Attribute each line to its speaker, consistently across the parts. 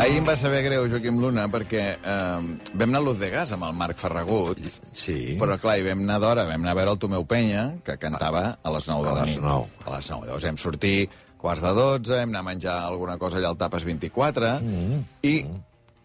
Speaker 1: Ahir em va saber greu, Joaquim Luna, perquè eh, vam anar a Luz de Gas amb el Marc Ferragut,
Speaker 2: Sí.
Speaker 1: però clar, hi vam anar d'hora, vam anar a veure el Tomeu Penya, que cantava a les 9 de
Speaker 2: A
Speaker 1: la
Speaker 2: les
Speaker 1: nit.
Speaker 2: 9.
Speaker 1: A les 9. Llavors vam sortir quarts de 12, hem anat a menjar alguna cosa allà al Tapes 24, mm. i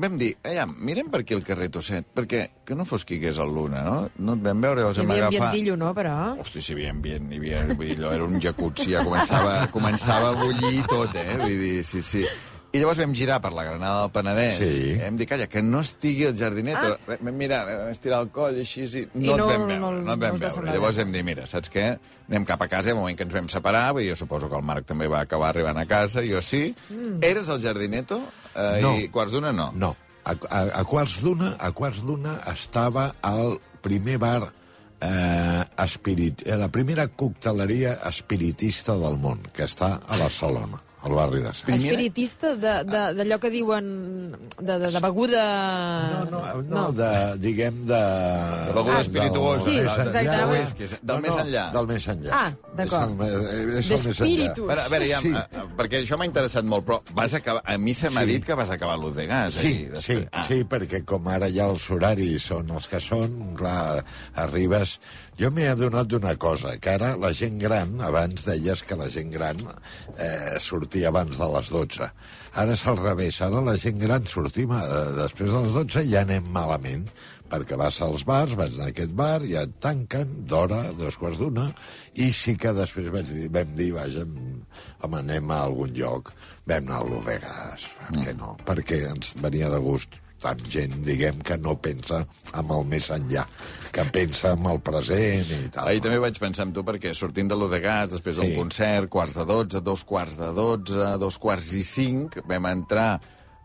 Speaker 1: vam dir, allà, mirem per aquí el carrer Tosset, perquè que no fos qui que és el Luna, no? No et vam veure, llavors
Speaker 3: Hi
Speaker 1: em va
Speaker 3: havia
Speaker 1: agafar...
Speaker 3: ambientillo, no, però...
Speaker 1: Hosti, si hi havia ambient, hi havia, vull dir, allò era un jacuzzi, ja començava, començava a bullir i tot, eh? Vull dir, sí, sí. I llavors vam girar per la Granada del Penedès.
Speaker 2: Sí.
Speaker 1: Vam dir, calla, que no estigui el jardinet.
Speaker 3: Ah.
Speaker 1: Ah. Vam mirar, vam estirar el coll, així, sí.
Speaker 3: I
Speaker 1: No,
Speaker 3: no-
Speaker 1: et vam veure,
Speaker 3: no-
Speaker 1: no,
Speaker 3: no
Speaker 1: et
Speaker 3: us va
Speaker 1: vam veure.
Speaker 3: semblar
Speaker 1: Llavors
Speaker 3: bé.
Speaker 1: vam dir, mira, saps què? Anem cap a casa, i al moment que ens vam separar, vull dir, jo suposo que el Marc també va acabar arribant a casa, jo sí. Mm. Eres el jardineto? Eh,
Speaker 2: No.
Speaker 1: I quarts d'una no.
Speaker 2: No. A, a, a quarts d'una a quarts d'una estava al primer bar eh, espirit, eh, la primera cocteleria espiritista del món, que està a la Solona, al barri de Sant.
Speaker 1: Primera-
Speaker 3: Espiritista de- de- d'allò que diuen... De, de, de beguda... Ah,
Speaker 2: No, no, no, de, diguem de... De
Speaker 1: beguda espirituosa.
Speaker 3: Sí, exacte, anava-
Speaker 1: Del més enllà.
Speaker 2: Del més enllà.
Speaker 3: Ah,
Speaker 2: És el
Speaker 3: d'acord.
Speaker 2: me- és el més enllà.
Speaker 3: D'espíritus.
Speaker 1: A veure, a veure, ja,
Speaker 2: Sí.
Speaker 1: sí. perquè això m'ha interessat molt, però vas acabar, a mi se m'ha
Speaker 2: Sí.
Speaker 1: dit que vas acabar l'ús de gas.
Speaker 2: Sí,
Speaker 1: ahir,
Speaker 2: sí,
Speaker 1: després. Ah.
Speaker 2: sí, perquè com ara ja els horaris són els que són, clar, arribes... Jo m'he adonat d'una cosa, que ara la gent gran, abans deies que la gent gran eh, sortia abans de les 12. Ara és al revés, ara la gent gran sortim eh, després de les 12 i ja anem malament, perquè vas als bars, vas a aquest bar, ja et tanquen d'hora, dos quarts d'una, i sí que després vaig dir, vam dir, vaja, home, anem a algun lloc, vam anar a l'Ovegas, per què no? Perquè ens venia de gust tant gent, diguem, que no pensa amb el més enllà, que pensa amb el present i tal.
Speaker 1: Ahir també vaig pensar en tu, perquè sortint de l'ús de gas, després d'un
Speaker 2: Sí.
Speaker 1: concert, quarts de 12, dos quarts de 12, dos quarts i cinc, vam entrar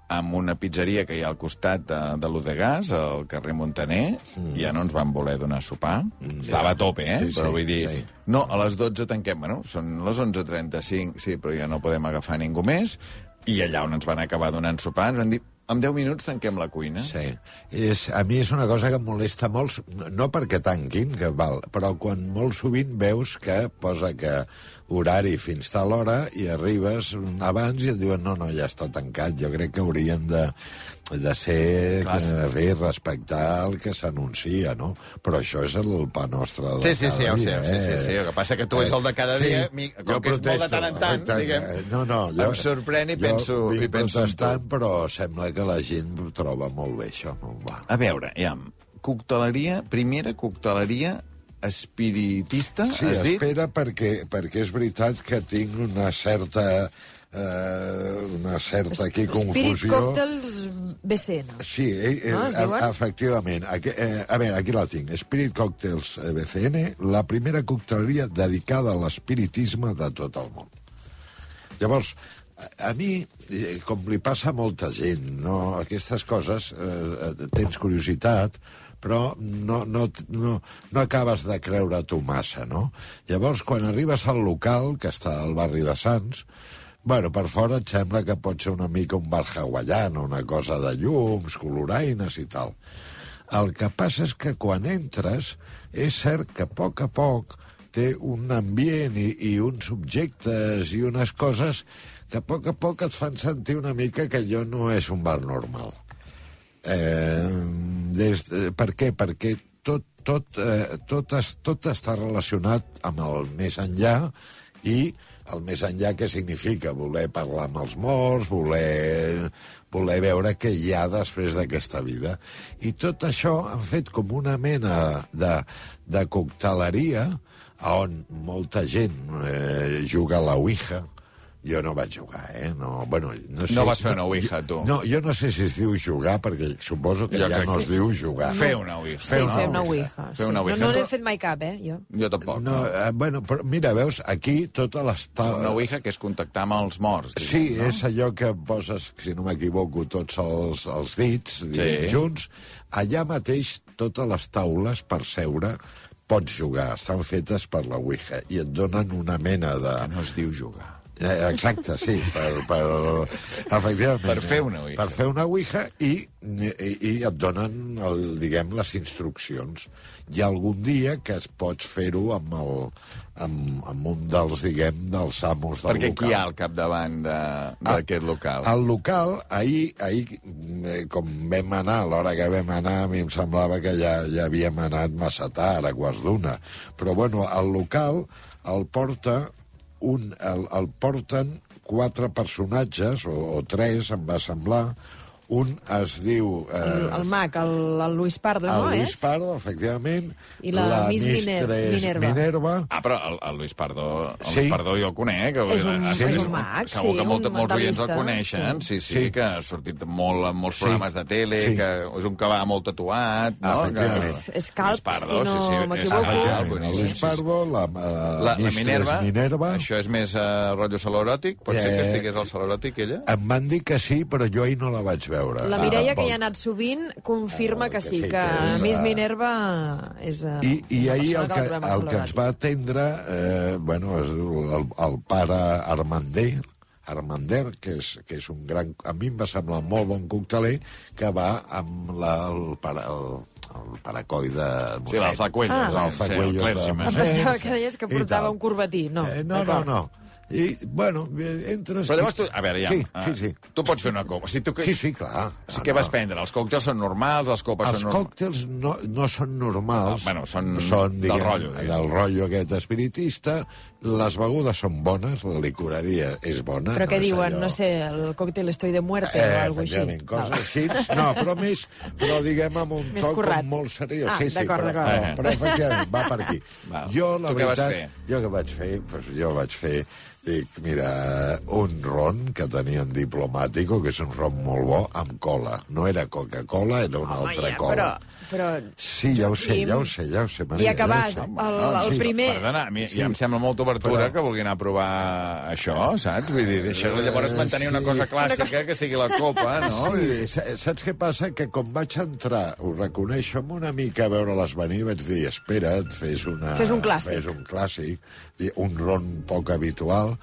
Speaker 1: en una pizzeria que hi ha al costat de, de l'ús de gas, al carrer Montaner, mm. i ja no ens van voler donar sopar. Mm, Estava a tope, eh?
Speaker 2: Sí, sí,
Speaker 1: però vull dir...
Speaker 2: sí.
Speaker 1: No, a les 12 tanquem, bueno, són les 11.35, sí, però ja no podem agafar ningú més, i allà on ens van acabar donant sopar ens van dir, en 10 minuts tanquem la cuina.
Speaker 2: Sí. És, a mi és una cosa que em molesta molt, no perquè tanquin, que val, però quan molt sovint veus que posa que horari fins tal hora i arribes abans i et diuen no, no, ja està tancat. Jo crec que haurien de, de ser
Speaker 1: Clar, sí,
Speaker 2: que,
Speaker 1: sí.
Speaker 2: bé, respectar el que s'anuncia, no? Però això és el pa nostre de
Speaker 1: Sí, sí, sí,
Speaker 2: cada
Speaker 1: ja ho sé,
Speaker 2: dia, eh?
Speaker 1: ja ho sé, sí, sí. El que passa que tu és el de cada dia, mi- com
Speaker 2: jo
Speaker 1: que és molt de
Speaker 2: protesto,
Speaker 1: tant en tant,
Speaker 2: exacte.
Speaker 1: diguem,
Speaker 2: No, no, jo,
Speaker 1: em sorprèn i
Speaker 2: jo
Speaker 1: penso- i
Speaker 2: vinc
Speaker 1: penso en tu.
Speaker 2: protestant, però sembla que la gent ho troba molt bé, això. No? Va.
Speaker 1: A veure, ja, cocteleria, primera cocteleria espiritista,
Speaker 2: Sí,
Speaker 1: has dit?
Speaker 2: espera, perquè, perquè és veritat que tinc una certa... Eh, una certa aquí
Speaker 3: Spirit
Speaker 2: confusió.
Speaker 3: Cocktails BCN.
Speaker 2: Sí, eh, eh,
Speaker 3: No, es diuen?
Speaker 2: a, efectivament. Aquí, eh, a veure, aquí la tinc. Spirit Cocktails eh, BCN, la primera cocteleria dedicada a l'espiritisme de tot el món. Llavors, a, a mi, eh, com li passa a molta gent, no? aquestes coses, eh, eh, tens curiositat, però no, no, no, no acabes de creure tu massa, no? Llavors, quan arribes al local, que està al barri de Sants, Bueno, per fora et sembla que pot ser una mica un bar hawaian, una cosa de llums, coloraines i tal. El que passa és que quan entres, és cert que a poc a poc té un ambient i, i uns subjectes i unes coses que a poc a poc et fan sentir una mica que allò no és un bar normal. Eh, des, de, per què? Perquè tot, tot, eh, tot, es, tot està relacionat amb el més enllà i el més enllà què significa? Voler parlar amb els morts, voler, voler veure què hi ha després d'aquesta vida. I tot això han fet com una mena de, de cocteleria on molta gent eh, juga a la Ouija. Jo no vaig jugar, eh? No, bueno, no, sé,
Speaker 1: No vas fer una ouija, tu.
Speaker 2: No, jo no sé si es diu jugar, perquè suposo que
Speaker 1: Jo
Speaker 2: jo ja
Speaker 1: crec
Speaker 2: no
Speaker 1: que
Speaker 2: es diu jugar.
Speaker 1: Fer una ouija.
Speaker 2: Fer
Speaker 3: Sí,
Speaker 2: una
Speaker 3: fer una
Speaker 2: ouija.
Speaker 3: ouija.
Speaker 1: Fer
Speaker 3: sí.
Speaker 1: una ouija.
Speaker 3: No, no n'he fet mai cap, eh, jo.
Speaker 1: Jo tampoc.
Speaker 2: No, eh, bueno, però mira, veus, aquí tota l'està...
Speaker 1: Una ouija que és contactar amb els morts. diguem,
Speaker 2: Sí, és allò que poses, si no m'equivoco, tots els, els dits sí. junts. Allà mateix, totes les taules per seure pots jugar, estan fetes per la Ouija, i et donen una mena de...
Speaker 1: No es diu jugar.
Speaker 2: Eh, Exacte, sí, per, per, efectivament.
Speaker 1: Per fer una ouija.
Speaker 2: Per fer una ouija i, i, i et donen, el, diguem, les instruccions. Hi ha algun dia que es pots fer-ho amb, el, amb, amb un dels, diguem, dels amos del
Speaker 1: Perquè
Speaker 2: local. Ah.
Speaker 1: qui hi ha al capdavant de- d'aquest local?
Speaker 2: El local, ahir, ahir eh, com vam anar, a l'hora que vam anar, a mi em semblava que ja, ja havíem anat massa tard, a quarts d'una. Però, bueno, el local el porta un, el, el porten quatre personatges, o, o tres, em va semblar. Un es diu...
Speaker 3: El, el mag, el, el Luis Pardo,
Speaker 2: el
Speaker 3: no
Speaker 2: Luis
Speaker 3: és?
Speaker 2: Pardo, efectivament.
Speaker 3: I la Miss Miner-
Speaker 2: Mistress
Speaker 3: Minerva.
Speaker 2: Minerva.
Speaker 1: Ah, però el, el Luis Pardó, el
Speaker 2: Sí.
Speaker 1: Luis Pardó jo el conec.
Speaker 3: És un-
Speaker 1: Ha
Speaker 3: és
Speaker 1: fet-
Speaker 2: un
Speaker 3: mag,
Speaker 1: Segur
Speaker 3: sí,
Speaker 1: que molt,
Speaker 3: un
Speaker 1: molts oients el
Speaker 3: mentalista,
Speaker 1: coneixen, sí, sí,
Speaker 2: Sí.
Speaker 1: sí. que ha sortit molt en molts
Speaker 2: Sí.
Speaker 1: programes de tele,
Speaker 2: Sí.
Speaker 1: que és un que va molt tatuat, no?
Speaker 2: Ah, efectivament.
Speaker 1: Que-
Speaker 3: És- és calb,
Speaker 1: Luis
Speaker 3: si no
Speaker 1: és
Speaker 3: m'equivoco.
Speaker 1: calb,
Speaker 3: Ah,
Speaker 2: el
Speaker 1: boníssim,
Speaker 2: Luis
Speaker 1: sí, sí.
Speaker 2: Pardo, la, la,
Speaker 1: La, la
Speaker 2: Mistress
Speaker 1: Minerva,
Speaker 2: Minerva.
Speaker 1: això és més eh, rotllo saloròtic? Pot ser
Speaker 2: Eh,
Speaker 1: que estigués al saloròtic, ella?
Speaker 2: Em van dir que sí, però jo ahir no la vaig veure.
Speaker 3: La Mireia,
Speaker 2: Ah, tampoc.
Speaker 3: que hi ha anat sovint, confirma
Speaker 2: Ah,
Speaker 3: que
Speaker 2: que
Speaker 3: sí,
Speaker 2: sí,
Speaker 3: que
Speaker 2: que és,
Speaker 3: Miss
Speaker 2: eh,
Speaker 3: Minerva és eh,
Speaker 2: I, i
Speaker 3: una
Speaker 2: ahir
Speaker 3: persona
Speaker 2: el que,
Speaker 3: va programa
Speaker 2: el que ens va atendre eh, bueno, es diu el, el pare Armander, Armander, que és, que és un gran... A mi em va semblar molt bon cocteler, que va amb la, el, para, el, el paracoi de
Speaker 1: Sí,
Speaker 2: Mosset.
Speaker 1: l'Alfa Cuellos.
Speaker 3: Ah.
Speaker 1: eh,
Speaker 2: L'Alfa
Speaker 1: sí, el
Speaker 2: Cuellos de
Speaker 1: clergyman.
Speaker 3: Em
Speaker 2: Mosset.
Speaker 3: pensava que deies que
Speaker 2: I
Speaker 3: portava
Speaker 2: tal.
Speaker 3: un corbatí. No,
Speaker 2: Eh, no, no,
Speaker 3: d'acord.
Speaker 2: no. I, bueno, eh, entres...
Speaker 1: Però llavors tu... A veure, ja... eh,
Speaker 2: Sí, sí, sí.
Speaker 1: Tu pots fer una copa. Si tu,
Speaker 2: Sí, sí, clar.
Speaker 1: Sí, què vas prendre? Els còctels són normals, les copes
Speaker 2: Els
Speaker 1: són normals...
Speaker 2: còctels no, no són normals.
Speaker 1: Ah, bueno, són
Speaker 2: són
Speaker 1: del
Speaker 2: diguem,
Speaker 1: rotllo, diguéssim.
Speaker 2: Del rotllo aquest espiritista. Les begudes són bones, la licoreria és bona.
Speaker 3: Però què
Speaker 2: és
Speaker 3: diuen?
Speaker 2: Doncs allò-
Speaker 3: No sé, el còctel Estoy de muerte o
Speaker 2: Eh,
Speaker 3: alguna cosa així.
Speaker 2: efectivament, coses així. No, però més, però diguem amb un
Speaker 3: Més
Speaker 2: toc
Speaker 3: currat.
Speaker 2: com molt seriós.
Speaker 3: Ah,
Speaker 2: sí, sí,
Speaker 3: d'acord,
Speaker 2: però,
Speaker 3: d'acord.
Speaker 2: Però, però, efectivament, va per aquí.
Speaker 1: Val.
Speaker 2: Jo, la
Speaker 1: Tu què vas
Speaker 2: veritat,
Speaker 1: fer?
Speaker 2: jo què vaig fer? Pues, jo vaig fer, dic, mira, un ron que tenien diplomàtico, que és un ron molt bo, amb cola. No era Coca-Cola, era una
Speaker 3: Home,
Speaker 2: altra
Speaker 3: ja,
Speaker 2: cola.
Speaker 3: però, però...
Speaker 2: Sí, ja ho sé,
Speaker 3: Joaquim.
Speaker 2: ja ho sé, ja ho sé, Maria.
Speaker 3: I acabar
Speaker 2: ja ho sé.
Speaker 3: el, el
Speaker 2: sí,
Speaker 3: primer...
Speaker 1: Perdona, a mi
Speaker 2: Sí.
Speaker 1: sí. ja em sembla molta obertura
Speaker 2: Però- Eh,
Speaker 1: però... que vulguin aprovar això, saps? Vull dir, deixar llavors mantenir una cosa clàssica que sigui la copa, no?
Speaker 3: Ah,
Speaker 2: No, sí, sa- saps què passa? Que com vaig entrar, ho reconeixo, amb una mica a veure-les venir, vaig dir, espera't, fes, una,
Speaker 3: Fes un clàssic.
Speaker 2: Fes un clàssic, di- un ron poc habitual,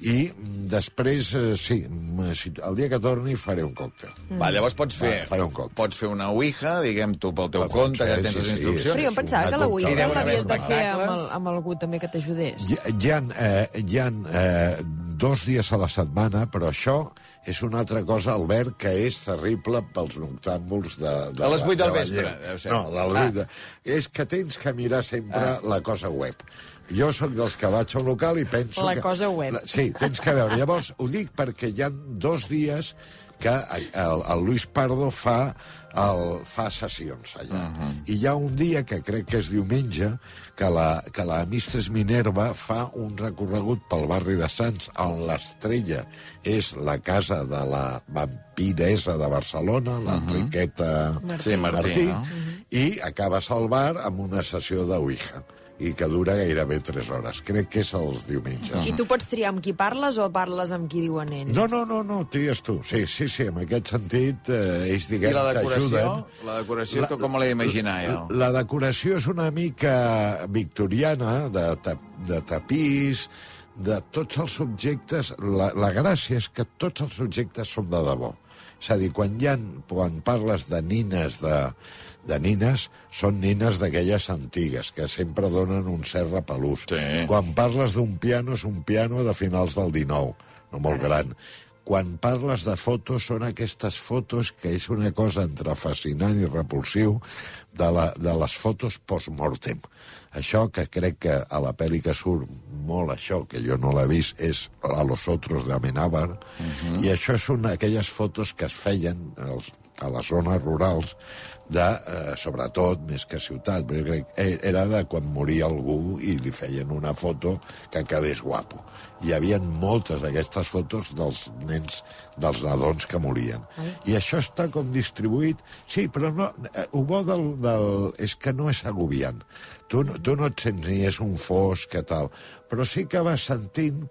Speaker 2: i mm, després, eh, sí, mm, si- el dia que torni faré un còctel.
Speaker 1: Va, llavors pots fer,
Speaker 2: Va, faré un cop.
Speaker 1: pots fer una ouija, diguem tu pel teu
Speaker 2: Va,
Speaker 1: compte, ja
Speaker 2: sí,
Speaker 1: tens les
Speaker 2: sí, sí.
Speaker 1: instruccions.
Speaker 3: Però jo em pensava que la
Speaker 2: Una
Speaker 3: Ouija
Speaker 1: coca.
Speaker 3: l'havies de fer amb, el,
Speaker 1: Espectacles.
Speaker 3: amb algú també que t'ajudés.
Speaker 2: Hi, hi ha, eh, hi ha eh, dos dies a la setmana, però això és una altra cosa, Albert, que és terrible pels noctàmbuls de... de
Speaker 1: A les vuit del
Speaker 2: de la
Speaker 1: vespre,
Speaker 2: lleu.
Speaker 1: deu ser.
Speaker 2: No, de les
Speaker 1: Ah.
Speaker 2: vuit de... És que tens que mirar sempre ah. la cosa web. Jo sóc dels que vaig a un local i penso
Speaker 3: La
Speaker 2: que...
Speaker 3: cosa web.
Speaker 2: Sí, tens que veure. Llavors, ho dic perquè hi ha dos dies que el, el Luis Pardo fa, el, fa sessions allà. Uh -huh. I hi ha un dia, que crec que és diumenge, que la, que la Mistres Minerva fa un recorregut pel barri de Sants, on l'estrella és la casa de la vampiresa de Barcelona, l'Enriqueta... Uh -huh.
Speaker 3: Martí.
Speaker 1: Sí, Martí,
Speaker 2: Martí,
Speaker 1: no?
Speaker 2: i acabes al bar amb una sessió de Ouija, i que dura gairebé 3 hores. Crec que és els diumenges.
Speaker 3: I tu pots triar amb qui parles o parles amb qui diuen ells?
Speaker 2: No, no, no, no, tries tu. Sí, sí, sí, en aquest sentit eh,
Speaker 1: I
Speaker 2: ells, diguem,
Speaker 1: la decoració?
Speaker 2: t'ajuden. Ah,
Speaker 1: La decoració, que com l'he d'imaginar, jo?
Speaker 2: La decoració és una mica victoriana, de, ta- de tapís, de tots els objectes... La, la gràcia és que tots els objectes són de debò. És a dir, quan, hi ha, quan parles de nines de, de nines, són nines d'aquelles antigues, que sempre donen un cert repelús.
Speaker 1: Sí.
Speaker 2: Quan parles d'un piano, és un piano de finals del 19, no molt gran. Quan parles de fotos, són aquestes fotos que és una cosa entre fascinant i repulsiu de, la, de les fotos post-mortem. Això que crec que a la pel·li que surt molt això, que jo no l'he vist, és a los otros de Amenábar, i això és una d'aquelles fotos que es feien als, a les zones rurals de, eh, sobretot, més que ciutat, però jo crec eh, era de quan moria algú i li feien una foto que quedés guapo. Hi havia moltes d'aquestes fotos dels nens, dels nadons que morien. I això està com distribuït... Sí, però no, eh, ho bo del, del... és que no és agobiant. Tu, no- tu no et sents ni és un fosc, que tal. Però sí que vas sentint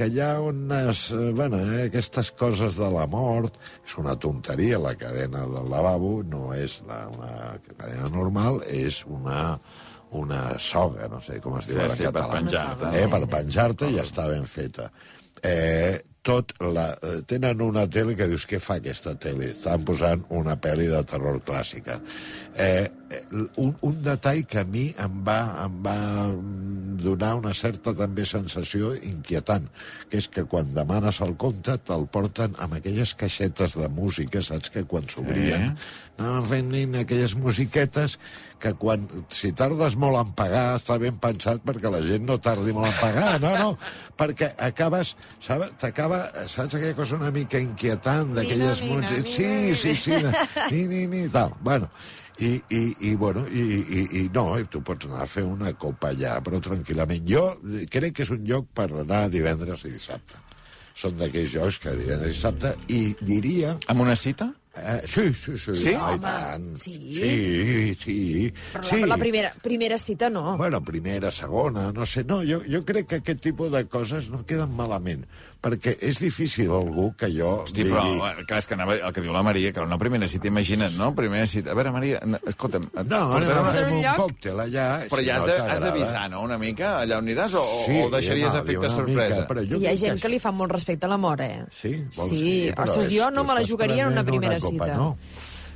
Speaker 2: que hi ha unes, eh, bueno, eh, aquestes coses de la mort, és una tonteria, la cadena del lavabo no és la, una cadena normal, és una, una soga, no sé com es diu
Speaker 1: Sí,
Speaker 2: ara en
Speaker 1: sí, per
Speaker 2: català.
Speaker 1: penjar-te.
Speaker 2: Eh, per penjar-te i està ben feta. eh, tot la, eh, tenen una tele que dius, què fa aquesta tele? Estan posant una pel·li de terror clàssica. Eh, eh, un, un detall que a mi em va, em va mm, donar una certa també sensació inquietant, que és que quan demanes el compte te'l porten amb aquelles caixetes de música, saps que quan s'obrien anaven fent nin aquelles musiquetes que quan, si tardes molt en pagar, està ben pensat perquè la gent no tardi molt en pagar, no, no, perquè acabes, sabes, t'acaba, saps aquella cosa una mica inquietant d'aquelles
Speaker 3: Nina,
Speaker 2: músiques...
Speaker 3: nina,
Speaker 2: Sí,
Speaker 3: nina,
Speaker 2: sí, sí, ni, ni, ni, tal, bueno. I, i, i bueno, i, i, i no, i tu pots anar a fer una copa allà, però tranquil·lament. Jo crec que és un lloc per anar divendres i dissabte. Són d'aquells llocs que divendres i dissabte, i diria...
Speaker 1: Amb una cita?
Speaker 2: Eh, sí, sí, sí.
Speaker 1: Sí?
Speaker 2: Ah, i
Speaker 3: Home,
Speaker 2: tant.
Speaker 3: sí.
Speaker 2: Sí, sí.
Speaker 3: Però
Speaker 2: sí.
Speaker 3: la, la primera, primera cita no.
Speaker 2: Bueno, primera, segona, no sé. No, jo, jo crec que aquest tipus de coses no queden malament, perquè és difícil algú que jo
Speaker 1: Hosti, però, eh, clar, és que anava el que diu la Maria, que era una primera cita, imagina't, no? Primera cita. A veure, Maria, no, escolta'm... et
Speaker 2: No,
Speaker 1: portaré
Speaker 2: anem a
Speaker 1: una-
Speaker 2: fer
Speaker 3: Portar un
Speaker 2: un
Speaker 3: lloc?
Speaker 2: còctel allà.
Speaker 1: Però
Speaker 2: si
Speaker 1: ja has
Speaker 2: no
Speaker 1: de- has
Speaker 2: t'agrada.
Speaker 1: d'avisar, no?, una mica. Allà on aniràs o, o- o deixaries
Speaker 2: home,
Speaker 1: efecte
Speaker 2: una
Speaker 1: sorpresa?
Speaker 2: Mica, però jo
Speaker 3: Hi ha
Speaker 2: crec
Speaker 3: gent que li fa molt respecte a l'amor, eh?
Speaker 2: Sí, vols
Speaker 3: sí.
Speaker 2: dir, però
Speaker 3: Ostres,
Speaker 2: és
Speaker 3: jo
Speaker 2: que
Speaker 3: no me la
Speaker 2: estàs
Speaker 3: jugaria en una
Speaker 2: prenent
Speaker 3: primera
Speaker 2: copa,
Speaker 3: cita.
Speaker 2: No.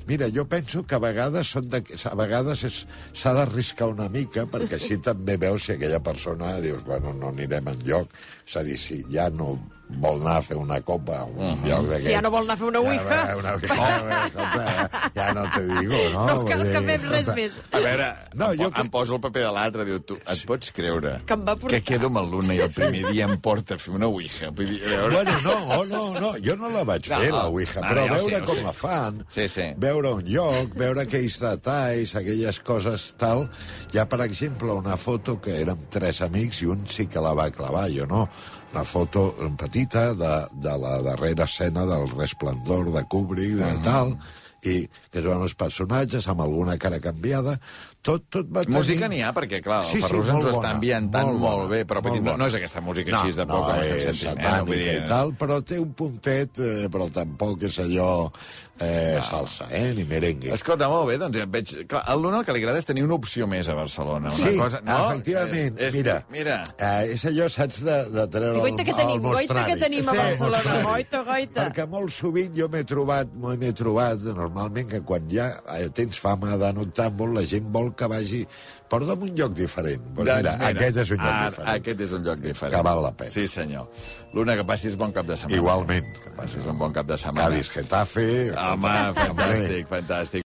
Speaker 2: Mira, jo penso que a vegades són de... a vegades és- s'ha d'arriscar una mica, perquè així també veus si aquella persona dius, bueno, no anirem enlloc. És a dir, si ja no vol anar a fer una copa a un
Speaker 1: Mhm.
Speaker 2: lloc d'aquest...
Speaker 3: Si ja no vol anar a fer una ouija.
Speaker 2: Ja, una ouija, escolta, ja, ja no te digo, no?
Speaker 3: No cal
Speaker 2: Vull
Speaker 3: que
Speaker 2: dir,
Speaker 3: fem res
Speaker 2: escolta,
Speaker 3: més.
Speaker 1: A veure,
Speaker 2: No,
Speaker 1: no, em,
Speaker 2: jo
Speaker 1: jo
Speaker 2: crec-
Speaker 1: em poso el paper de l'altre, diu, tu et pots creure
Speaker 3: Que em va portar.
Speaker 1: quedo amb el l'una i el primer dia em porta a fer una ouija. Vull dir, a veure...
Speaker 2: Bueno, no, oh, no, no, jo no la vaig
Speaker 1: No,
Speaker 2: fer, la Ouija,
Speaker 1: no,
Speaker 2: però
Speaker 1: ja ho sé,
Speaker 2: veure
Speaker 1: ja ho
Speaker 2: com
Speaker 1: sé.
Speaker 2: la fan,
Speaker 1: Sí, sí.
Speaker 2: veure un lloc, veure aquells detalls, aquelles coses tal... Hi ha, per exemple, una foto que érem tres amics i un sí que la va clavar, jo no. Una foto petita de, de la darrera escena del resplendor de Kubrick, de tal i que es veuen els personatges amb alguna cara canviada, tot, tot va tenir...
Speaker 1: Música n'hi ha, perquè, clar, el sí, Ferrus ens
Speaker 2: molt
Speaker 1: ho està
Speaker 2: bona,
Speaker 1: ambientant molt, molt
Speaker 2: bona,
Speaker 1: bé, però vull dir,
Speaker 2: molt
Speaker 1: no,
Speaker 2: bona.
Speaker 1: no és aquesta música no, així de poc
Speaker 2: no,
Speaker 1: com estem
Speaker 2: és
Speaker 1: sentint. Eh?
Speaker 2: satànica
Speaker 1: Vull dir,
Speaker 2: i tal, però té un puntet, eh, però tampoc és allò eh, salsa, eh, ni merengue.
Speaker 1: Escolta, molt bé, doncs ja et veig... Clar, a l'Una el que li agrada és tenir una opció més a Barcelona. Una
Speaker 2: sí,
Speaker 1: cosa...
Speaker 2: efectivament,
Speaker 1: És, és,
Speaker 2: mira,
Speaker 1: mira.
Speaker 2: Eh, és allò, saps, de, de treure
Speaker 3: I goita que
Speaker 2: el,
Speaker 3: tenim,
Speaker 2: el
Speaker 3: goita que
Speaker 2: mostrari.
Speaker 3: tenim a
Speaker 1: Sí,
Speaker 3: Barcelona.
Speaker 1: mostrari.
Speaker 3: Goita, goita.
Speaker 2: Perquè molt sovint jo m'he trobat, m'he trobat normalment que quan ja eh, tens fama de noctàmbul, la gent vol que vagi per un lloc diferent. Doncs mira, aquest és un lloc
Speaker 1: Ara,
Speaker 2: diferent.
Speaker 1: Aquest és un lloc diferent.
Speaker 2: Que val la pena.
Speaker 1: Sí, senyor. L'Una, que passis bon cap de setmana.
Speaker 2: Igualment.
Speaker 1: Que passis un bon cap de setmana.
Speaker 2: Cádiz, Getafe...
Speaker 1: Home,
Speaker 2: Hombre.
Speaker 1: fantàstic, fantàstic.